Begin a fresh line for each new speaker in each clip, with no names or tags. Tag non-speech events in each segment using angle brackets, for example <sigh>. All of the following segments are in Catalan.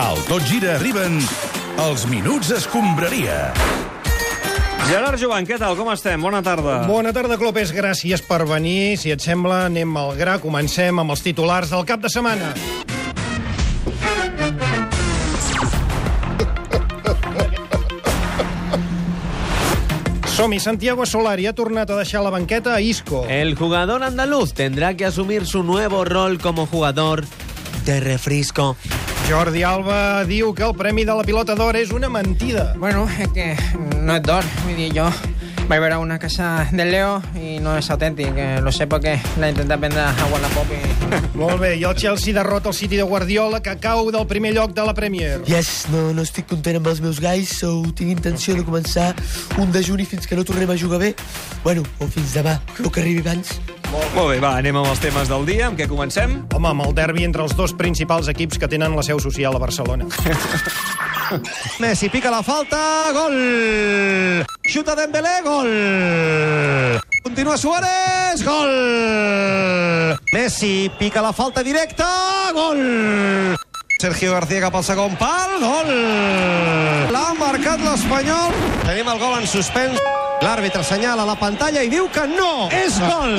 Al Tot Gira arriben els Minuts Escombraria.
Gerard Joan, què tal? Com estem? Bona tarda.
Bona tarda, Clopés. Gràcies per venir. Si et sembla, anem al gra. Comencem amb els titulars del cap de setmana. Som-hi. Santiago Solari ha tornat a deixar la banqueta a Isco.
Eh.
El jugador andaluz tendrá que asumir su nuevo rol como jugador de refresco.
Jordi Alba diu que el premi de la pilota d'or és una mentida.
Bueno, és que no és d'or. Vull dir, jo vaig veure una casa del Leo i no és autèntic. Eh, Lo sé perquè la intentat vendre a Wallapop i...
Molt bé, i el Chelsea derrota el City de Guardiola, que cau del primer lloc de la Premier.
Yes, no, no estic content amb els meus gais, o tinc intenció de començar un dejuni fins que no tornem a jugar bé. Bueno, o fins demà, el que arribi abans.
Molt bé, va, anem amb els temes del dia. Amb què comencem?
Home, amb el derbi entre els dos principals equips que tenen la seu social a Barcelona.
<laughs> Messi pica la falta, gol. Xuta Dembélé, gol. Continua Suárez, gol. Messi pica la falta directa, gol. Sergio García cap al segon pal, gol. L'ha marcat l'Espanyol. Tenim el gol en suspens. L'àrbitre assenyala la pantalla i diu que no. És gol.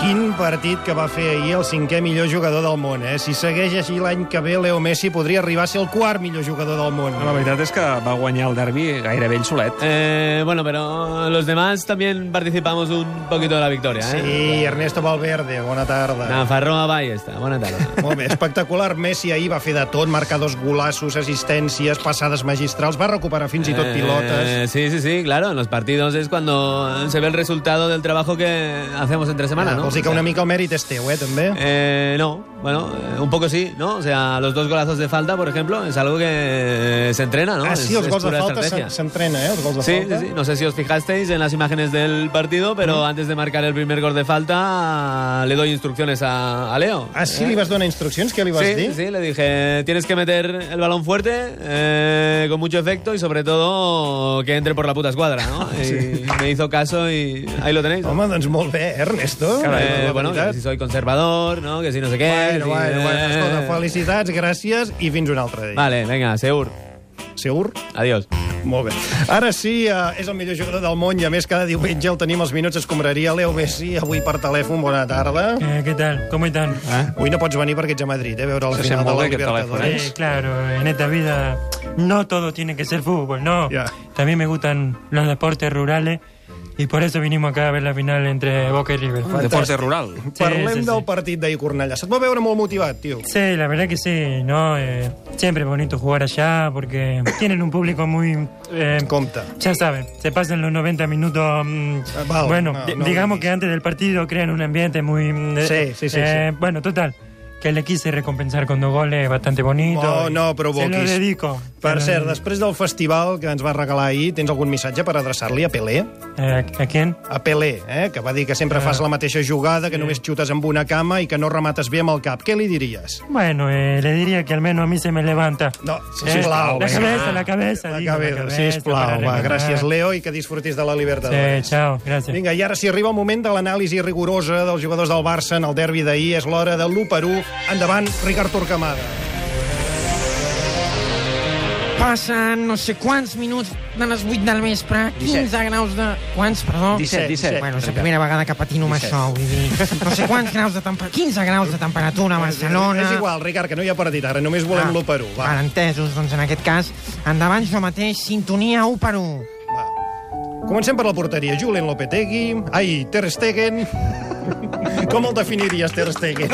Quin partit que va fer ahir el cinquè millor jugador del món, eh? Si segueix així l'any que ve, Leo Messi podria arribar a ser el quart millor jugador del món.
Ah,
La veritat és que va guanyar el derbi gairebé ell solet.
Eh, bueno, pero los demás también participamos un poquito de la victoria, ¿eh?
Sí, Ernesto Valverde, bona tarda.
Nafarroa Ballesta, buena
<laughs>
tarde.
Molt bé, espectacular. Messi ahir va fer de tot, marcar dos golaços, assistències, passades magistrals, va recuperar fins i tot pilotes.
Eh, sí, sí, sí, claro. En los partidos es cuando se ve el resultado del trabajo que hacemos entre semana, ¿no?
Vols dir que una mica el mèrit és teu, eh, també?
Eh, no, bueno, eh, un poco sí, ¿no? O sea, los dos golazos de falta, por ejemplo, es algo que eh, se entrena, ¿no?
Ah, sí,
Es-
els
es
gols de
pura
falta
estrategia.
s'en- s'entrena, eh? Els gols de
Sí,
falta.
sí, sí. No sé si os fijasteis en las imágenes del partido, pero antes de marcar el primer gol de falta, le doy instrucciones a, a Leo. Eh,
Ah, sí, li vas donar instruccions? Què li vas
Sí,
dir?
sí, le dije, tienes que meter el balón fuerte, eh, con mucho efecto y sobre todo que entre por la puta escuadra, ¿no?
<laughs>
Y me hizo caso y ahí lo tenéis.
Home, doncs molt bé, Ernesto.
Eh,
la
bueno,
veritat.
que si soy conservador, ¿no? Que si no sé qué.
Bueno,
si-
bueno, bueno,
eh.
escolta, felicitats, gràcies i fins un altre dia.
Vale, venga, Seur.
Segur?
Adiós.
Molt bé. Ara sí, eh, és el millor jugador del món i a més cada diumenge el tenim als minuts escombraria. Leo Messi, avui per telèfon, bona tarda.
Eh, ¿Qué tal? ¿Cómo están? Eh,
Avui no pots venir perquè ets a Madrid, eh, veure el
Ah. Se
final
sent
de
molt
la
bé aquest
Libertadores.
Eh, claro, en esta vida no todo tiene que ser fútbol, no.
Ya.
También me gustan los deportes rurales y por eso vinimos acá a ver la final entre Boca y River.
Deporte rural.
Sí,
Parlem
sí, sí.
del partit d'ahir Cornellà. Se't va veure molt motivat, tio.
Sí, la verdad que sí, ¿no? Eh, siempre es bonito jugar allá porque <clears throat> tienen un público muy... eh,
En compte.
ya saben, se pasan los 90 minutos... mm,
Ah, vale,
bueno,
no,
di-
no
digamos
lo
que antes del partido crean un ambiente muy... mm, de-
Sí, sí, sí,
eh, Bueno, total, que le quise recompensar con dos goles bastante bonitos.
No,
y
no provoquis.
Se lo dedico.
Per
Se lo
cert,
dedico.
després del festival que ens va regalar ahir, tens algun missatge per adreçar-li a Pelé?
Eh, ¿A quién?
A Pelé, eh? que va dir que
Ah.
sempre fas la mateixa jugada, que només xutes amb una cama i que no remates bé amb el cap. Què li diries?
Bueno, eh, le diría que al menos a mí se me levanta.
No,
Eh,
sisplau.
la
vinga.
cabeza, la cabeza,
La
digo, la
cabeza,
cabeza, para
sisplau. Va,
recordar.
gràcies, Leo, i que disfrutis de la
Sí,
Libertadores.
chao, gracias.
Vinga, i ara si arriba el moment de l'anàlisi rigorosa dels jugadors del Barça en el derbi d'ahir, és l'hora de l'1 per 1. Endavant, Ricard Torquemada.
Passen no sé quants minuts de les 8 del vespre, 15 graus de... Quants, perdó?
17, 17.
Bueno, és la primera vegada que patino amb això, vull dir. No sé quants graus de temperatura... 15 graus de temperatura a Barcelona... Ah.
És igual, Ricard, que no hi ha partit ara, només volem l'1 per 1. Va.
Val, entesos, doncs en aquest cas, endavant jo mateix, sintonia 1 per 1.
va. Comencem per la porteria. Julen Lopetegui, ai, Ter
<laughs>
Stegen... Com el definiries, Ter Stegen?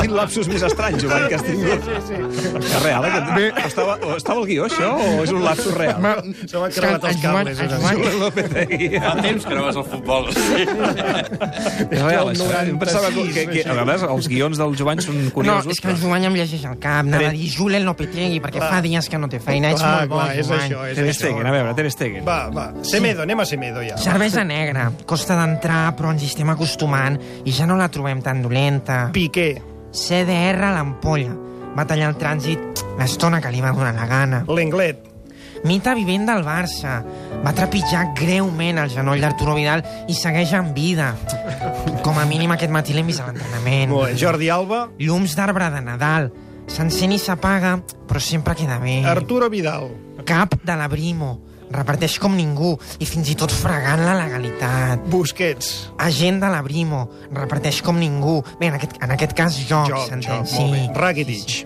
Quin lapsus més estrany, Joan, que has tingut. Sí, sí, sí. És real, aquest... Estava, estava al guió, això, o és un lapsus real?
Se m'han cremat els cables. eh,
El
ara.
Joan, el Joan,
Fa temps que no vas al futbol. És real, això. Em pensava que, que, que, a vegades els guions del Joan són
no,
curiosos.
és que el Joan ja em llegeix el cap, anava a dir Julen Lopetegui, perquè fa dies que no té feina, ets
Ah. Clar,
molt bo,
clar, Ah, és
Joan.
això, eh. és
Ter
això.
Stegen, a veure, Ter Stegen.
Va, va. Semedo, anem a Semedo, ja.
Cervesa negra, costa d'entrar, però ens hi estem acostumant i ja no la trobem tan dolenta.
Piqué,
CDR a l'ampolla. Va tallar el trànsit l'estona que li va donar la gana.
l'Englet,
Mita vivent del Barça. Va trepitjar greument el genoll d'Arturo Vidal i segueix amb vida. Com a mínim aquest matí l'hem vist a l'entrenament.
Molt bé. Jordi Alba,
Llums d'arbre de Nadal. S'encén i s'apaga, però sempre queda bé.
Arturo Vidal,
Cap de la Brimo. Reparteix com ningú i fins i tot fregant la legalitat.
Busquets,
Agent de la Brimo. Reparteix com ningú. Bé, en aquest, en aquest cas, jo,
Joc, joc, molt bé. Rakitic.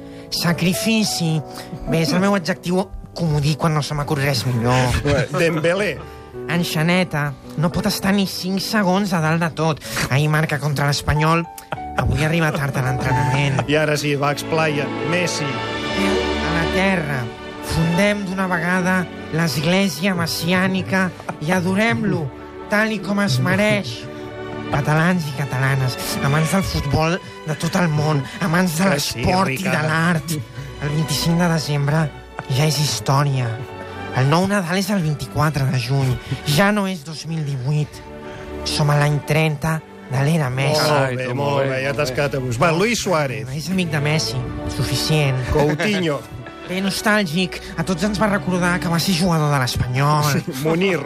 Sacrifici. Bé, és el meu adjectiu comodí quan no se m'acut res millor.
Dembélé,
En Xaneta no pot estar ni 5 segons a dalt de tot. Ahir marca contra l'Espanyol, avui arriba tard a l'entrenament.
i ara sí, va, explaia, Messi,
A la terra fundem d'una vegada l'església messiànica i adorem-lo tal i com es mereix. Catalans i catalanes, amants del futbol de tot el món, amants de
Que Eh, sí,
l'esport i de
Ricard.
l'art. El 25 de desembre ja és història. El nou Nadal és el 24 de juny. Ja no és 2018. Som a l'any 30 de l'era Messi.
Molt bé, molt bé, ja t'has quedat a gust. Va, Luis Suárez,
És amic de Messi. Suficient.
<laughs>
Coutinho,
Bé, nostàlgic. A tots ens va recordar que va ser jugador de l'Espanyol.
Munir,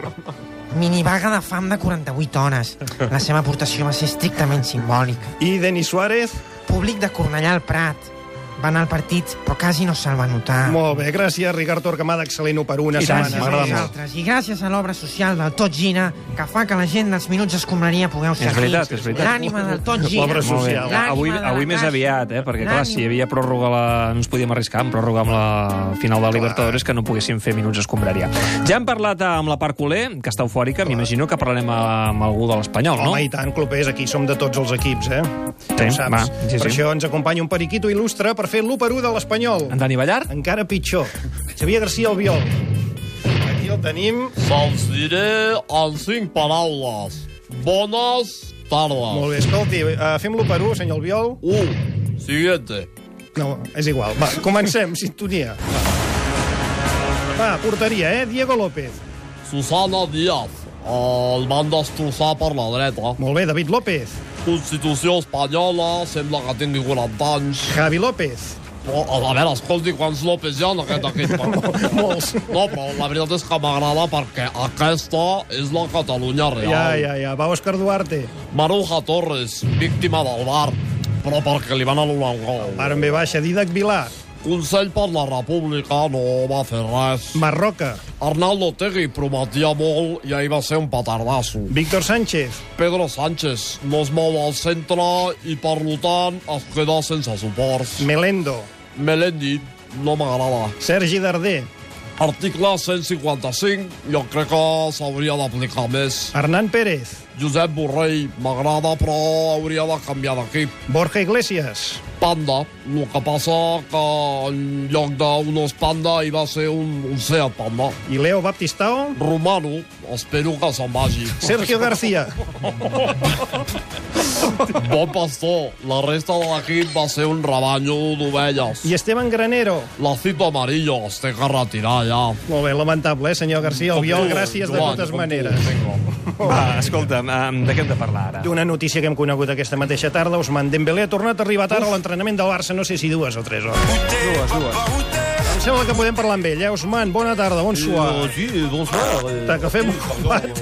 Minivaga de fam de 48 hores. La seva aportació va ser estrictament simbòlica.
i Denis Suárez.
Públic de Cornellà al Prat. Va anar al partit, però quasi no se'l va notar.
Molt bé, gràcies, Ricard Torquemada, excel·lent per una
Ah. I tant,
setmana.
Gràcies a
m'agrada molt.
vosaltres i gràcies a l'obra social del Tot Gina que fa que la gent dels Minuts Escombraria pugueu ser
És veritat, és veritat.
L'ànima del Tot Gina.
L'obra
Molt bé.
social.
L'ànima
Avui,
de la
avui més
caixa.
aviat, eh? perquè clar,
L'ànima.
si hi havia pròrroga, la... no ens podíem arriscar amb pròrroga amb la final de Libertadores que no poguéssim fer minuts escombraria. Ja hem parlat amb la Parc Oler, que està eufòrica, m'imagino que parlarem amb algú de l'Espanyol,
Home,
no?
i tant, clubers, aquí som de tots els equips, eh?
Sí,
Ho saps.
va, sí, sí.
Per això ens acompanya un periquito il·lustre per fer l'1 per 1 de l'Espanyol.
En Dani Ballar?
Encara pitjor. Xavier García Albiol. Aquí el tenim.
Se'ls diré en cinc paraules. Bones tardes.
Molt bé, escolti, eh, fem l'1 per 1, senyor Albiol.
1. Siguiente.
No, és igual. Va, comencem, sintonia. Va, porteria, eh? Diego López.
Susana Díaz. El van destrossar per la dreta.
Molt bé, David López.
Constitució espanyola, sembla que tingui 40 anys.
Javi López.
Però, a veure, escolti, quants López hi ha en aquest
<laughs>
equip?
Molts.
No, però la veritat és que m'agrada perquè aquesta és la Catalunya real.
Ja, ja, ja. Va, Òscar Duarte.
Maruja Torres, víctima del bar, però perquè li van anul·lar un gol.
Ara en ve baixa, Didac Vilar.
Consell per la República no va fer res.
Marroca.
Arnaldo Tegui prometia molt i ahir va ser un petardasso.
Víctor Sánchez.
Pedro Sánchez no es mou al centre i, per lo tant, es queda sense suports.
Melendo.
Melendi no m'agrada.
Sergi Darder.
Article 155, jo crec que s'hauria d'aplicar més.
Hernán Pérez.
Josep Borrell m'agrada, però hauria de canviar d'equip.
Borja Iglesias.
Panda, el que passa que en lloc d'un os panda hi va ser un, un Seat Panda.
I Leo Baptistao.
Romano, espero que se'n vagi.
Sergio García.
Bon pastor, la resta de l'equip va ser un rebanyo d'ovelles.
I Esteban Granero.
La cita amarillo es té que retirar ja.
Molt bé, lamentable, eh, senyor García Albiol. Gràcies de
Joan,
totes
com tu,
maneres.
vinga.
Va, escolta'm, em, de què hem de parlar ara?
Una notícia que hem conegut aquesta mateixa tarda. Ousmane Dembélé ha tornat a arribar tard a l'entrenament del Barça, no sé si dues o tres hores.
Dues, dues.
Em sembla que podem parlar amb ell, eh? Ousmane, bona tarda, bon
Euh,
suar.
si, bonsoir. eh. euh,
T'ha que fem ocupat. <laughs>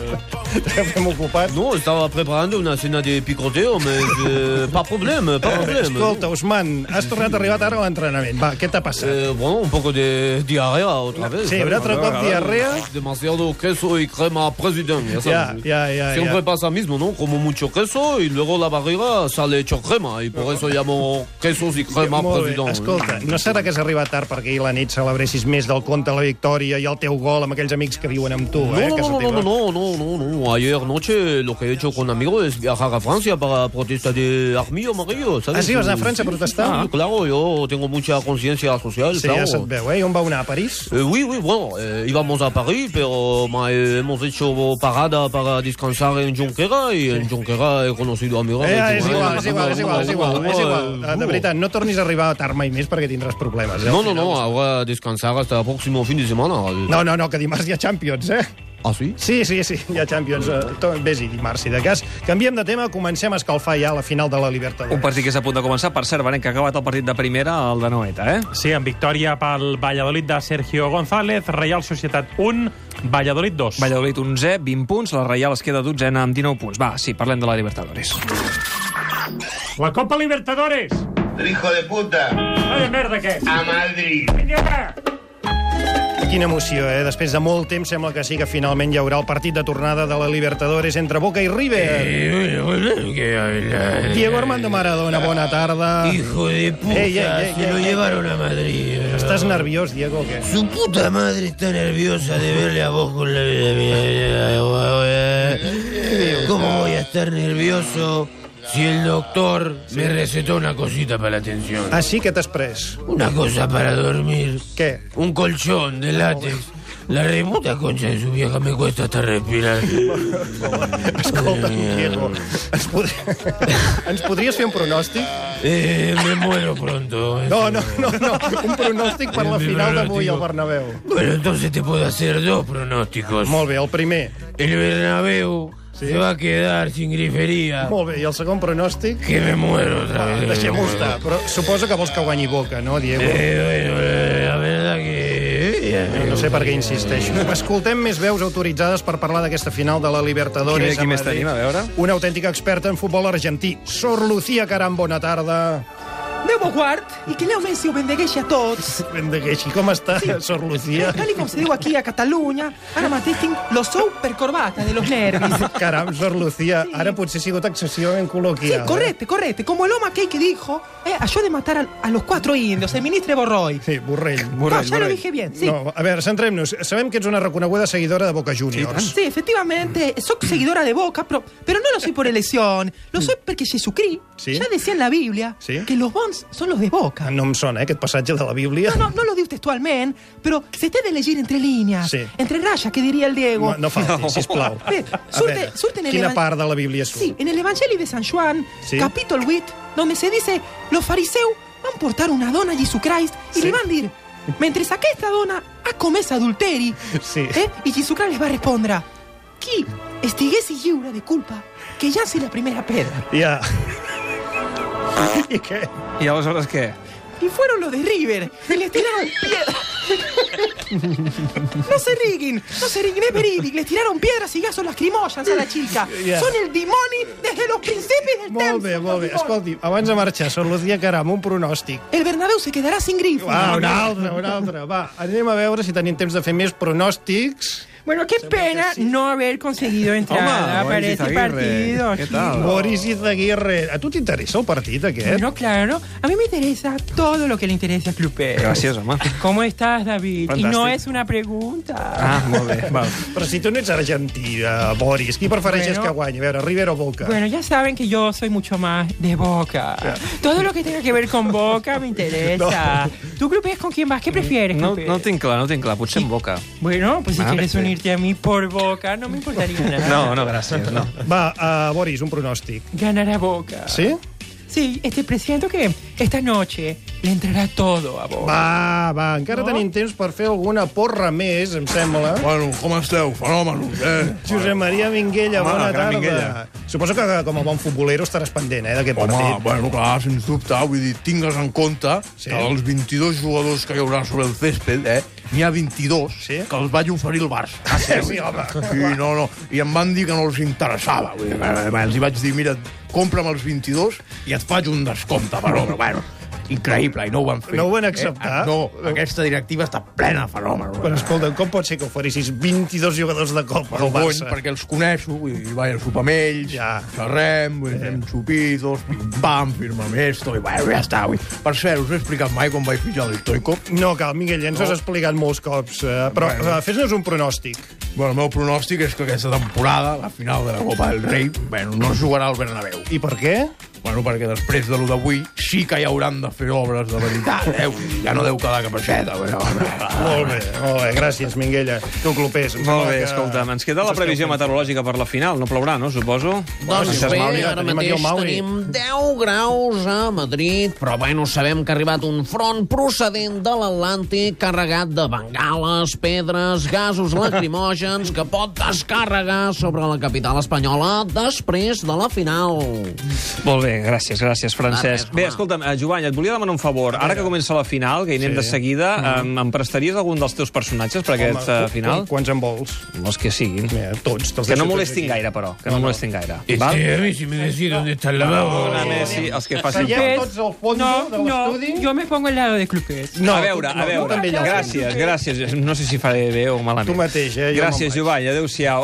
T'ha que fem ocupat.
Non, estaba preparando una cena de picoteo, mais euh, pas problème, pas problème.
Escolta, Ousmane, has tornat a arribar tard a l'entrenament. Va, què t'ha passat?
Euh, bon, un poco de diarrea otra vez.
Sí, habrá otro cop diarrea.
Demasiado queso y crema president. Ya,
Ya,
sabes.
ya, ya,
Siempre
ya.
pasa mismo, ¿no? Como mucho queso y luego la barriga sale hecho crema. Y por eso llamo quesos y crema
Molt bé,
president.
escolta, no serà que has arribat tard perquè ahir a la nit celebressis més del compte la victòria i el teu gol amb aquells amics que viuen amb tu,
No,
eh, a
no,
casa
no,
teva?
no, no, no, no, no. Ayer noche lo que he hecho con amigos es viajar a Francia para protestar de Armillo Amarillo, ¿sabes?
Ah, sí, vas a Francia a protestar?
Sí, Ah, claro, yo tengo mucha conciencia social,
Sí,
claro.
ja se't veu, eh? I on vau anar, a París?
Eh, oui, oui, bueno, eh, íbamos a París, pero ma- eh, hemos hecho parada para descansar en Junquera y en Junquera he conocido a mi
Eh, és igual, és igual, és igual, és igual, és
euh,
igual. Eh, De veritat, no tornis a arribar tard mai més perquè tindràs problemes. Eh?
No, no, no, ahora descansar hasta el próximo fin de euh, semana.
No, no, no, que dimarts hi ha Champions, eh?
Ah, sí?
Sí, sí, sí, hi ha Champions. eh, to- Vés-hi dimarts, si de cas. Canviem de tema, comencem a escalfar ja la final de la Libertadores.
Un partit que és a punt de començar. Per cert, Benet, que ha acabat el partit de primera, el de Noeta, eh?
Sí, amb victòria pel Valladolid de Sergio González, Reial Societat 1, Valladolid 2.
Valladolid 11, 20 punts, la Reial es queda 12 amb 19 punts. Va, sí, parlem de la Libertadores.
La Copa Libertadores.
Hijo de puta,
Vaya merda que és.
a Madrid.
Vinga!
Quina emoció, eh? Després de molt temps sembla que sí que finalment hi haurà el partit de tornada de la Libertadores entre Boca i River. Diego Armando Maradona, bona tarda.
Hijo de puta,
Ey, ey, ey,
se lo
ey, ey.
llevaron a Madrid.
Estàs nerviós, Diego, o què?
Su puta madre está nerviosa de verle a vos con la... ¿Cómo voy a estar nervioso si el doctor me recetó una cosita para la atención?
Ah, sí que t'has pres.
Una cosa para dormir.
Què?
Un colchón de látex. La reputa concha de su vieja me cuesta hasta respirar.
<laughs>
Escolta, Diego, ens, pod... <laughs> ens podries fer un pronòstic?
Eh, me muero pronto.
No, no, no, no. un pronòstic per la final d'avui al Bernabéu.
Bueno, entonces te puedo hacer dos pronósticos.
Molt bé, el primer.
El Bernabéu se va a quedar sin grifería.
Molt bé, i el segon pronòstic? Ah,
Que me muero otra vez.
Deixem-ho estar, però suposo que vols que guanyi Boca, no, Diego?
Eh, bueno, eh, la verdad que... eh,
No sé per què insisteixo. Escoltem més veus autoritzades per parlar d'aquesta final de la Libertadores.
Qui- qui
a
més
Madrid.
tenim, a veure?
Una autèntica experta en futbol argentí. Sor Lucía Caram, bona tarda.
Debo guard y que Leo Messi ho bendegueixi a tots.
Bendegueixi, com està, Sor Lucía?
Tal y como se digo aquí a Cataluña, ahora más dicen los super corbata de los
<laughs>
nervios.
Caram, Sor Lucía, ara potser he sigut excessivament
Sí,
col·loquial. eh?
correte, correte. Como el Oma Key que dijo, eh, ayudó de matar a, a los cuatro indios, el ministro Borroy.
Sí, Borrell.
Ah, Borrell, ya lo dije bien, sí.
No, a veure, centrem-nos. Sabem que ets una reconeguda seguidora de Boca Juniors.
Sí, efectivamente, soy seguidora de Boca, pero, pero no lo soy por elección. Lo soy porque Jesucristo
Mm. Sí.
ya decía en la Biblia
Sí.
que los bons son los de Boca.
Ah, No em sona, eh, aquest passatge de la Bíblia.
No, no, no lo digo textualmente, pero se te de elegir entre líneas,
Sí.
entre rayas, que diría el Diego.
No, no falti, sisplau.
Bé,
A
surte-
veure,
surte en el
quina
evan-
part de la Bíblia surt?
Sí, en el Evangelio de San Juan,
Sí.
capítulo 8, donde se dice, los fariseos van a portar una dona a Jesucristo y le van a decir, mentre saqué esta dona, a comés adulteri.
Sí.
Eh? Y Jesucristo les va a responder, qui estiguesi lliure de culpa, que ja la primera pedra. <laughs>
Ja. I què?
I aleshores què?
Y fueron los de River, y les tiraron piedras. No se riguen, no se riguen, es verídico. Les tiraron piedras y gasos lacrimógenas a la chica.
Yeah.
Son el demonio desde los principios del
Molt bé,
temps,
molt bé.
los demonios.
Escolti, abans de marxar, Sor Lucía Caram, un pronòstic.
El Bernabéu se quedará sin grifo.
Va, un altre, un altre. Va, anem a veure si tenim temps de fer més pronòstics.
Bueno, qué pena no haber conseguido entrada
Home,
para
Boris
este
Izaguirre,
partido.
què tal?
Boris Izaguirre. A tu t'interessa el partit, aquest?
Bueno, claro, a mí me interesa todo lo que le interesa a Clupeo.
Gràcies, home.
¿Cómo estás, David? Y no
Fantàstic.
es una pregunta.
Ah, molt bé. Va.
Però si tu no ets argentí, eh, Boris, qui prefereixes
Bueno.
que guanyi? A veure, River o Boca?
Bueno, ya saben que yo soy mucho más de boca. Todo lo que tenga que ver con boca me interesa. ¿Tú clupeas con quién vas? ¿Qué prefieres?
No,
Clupeo?
no ho tinc clar, no ho tinc clar. Potser en boca.
Bueno, pues si
Ah,
quieres
sí.
unirte a mí por boca, no me importaría nada.
Ah, No, no, gràcies, no.
Va, eh, Boris, un pronòstic.
Ganar a boca.
Sí?
Sí, este presiento que esta noche le entrará todo a Boca.
Va, va, encara
No.
tenim temps per fer alguna porra més, em sembla.
Bueno, com esteu? Fenòmenos, eh?
Josep Maria Minguella,
Home,
bona
el gran
tarda.
Minguella.
Suposo que com a bon futbolero estaràs pendent, eh, d'aquest
Home,
partit.
bueno, clar, sens dubte, vull dir, tingues en compte
Sí.
sí. que dels 22 jugadors que hi haurà sobre el césped, eh, n'hi ha 22
Sí?
sí? que els vaig oferir el Barça. <laughs>
Ah, sí, sí, home.
I, no, no, I em van dir que no els interessava. Vull dir, eh, els hi vaig dir, mira, compra'm els 22 i et faig un descompte, però, però bueno, increïble, i no ho van fer.
No ho van
Eh?
acceptar?
No, aquesta directiva està plena de fenòmens.
Però escolta, com pot ser que oferissis 22 jugadors de cop al
Vergony,
Barça?
perquè els coneixo, vull dir, vaig a sopar amb ells, ja.
Ja.
xerrem, vull dir, fem sopitos, pim-pam, firmem esto, i bueno, ja està. Vull. dir. Per cert, us he explicat mai com vaig pitjar el Toikop?
No cal, Miguel, ja ens ho has explicat molts cops. eh, Però
Bueno.
eh, fes-nos un pronòstic.
Bueno, el meu pronòstic és que aquesta temporada, la final de la Copa del Rei, bueno, no es jugarà al Bernabéu.
I per què?
Bueno, perquè després de lo d'avui sí que hi hauran de fer obres de veritat, eh? Vull dir, Ja no deu quedar cap aixeta, però...
Molt bé, molt bé. Gràcies, Minguella. Tu, clopers. em
Molt
sembla
bé,
que-
escolta'm, ens queda la previsió meteorològica per la final. No plourà, no, suposo?
Doncs
Francesc
bé,
Mauri.
ara mateix tenim 10 graus a Madrid, però bueno, sabem que ha arribat un front procedent de l'Atlàntic carregat de bengales, pedres, gasos lacrimògens que pot descarregar sobre la capital espanyola després de la final.
Molt bé, gràcies, gràcies, Francesc.
res,
Bé, escolta'm, eh, Jovany, et volia demanar un favor. Ara que comença la final, que hi anem
Sí.
de seguida, em, em prestaries algun dels teus personatges per aquest
Home,
eh,
qu-
final?
qu- Quants en vols?
Els que siguin.
tots. te'ls
Que no
deixo tots
molestin
aquí.
gaire, però. Que no,
No, no.
molestin gaire.
Este, a mí
si me decís dónde está el
lavabo. Messi, els que facin...
Seieu
por.
tots al fondo no, de l'estudi? No, jo me pongo al lado de Clupés.
No, a veure, a veure.
ja.
Gràcies, gràcies. No sé si faré bé o malament.
Tu mateix, eh? Jo me'n
Gràcies, Jovany. Adéu-siau.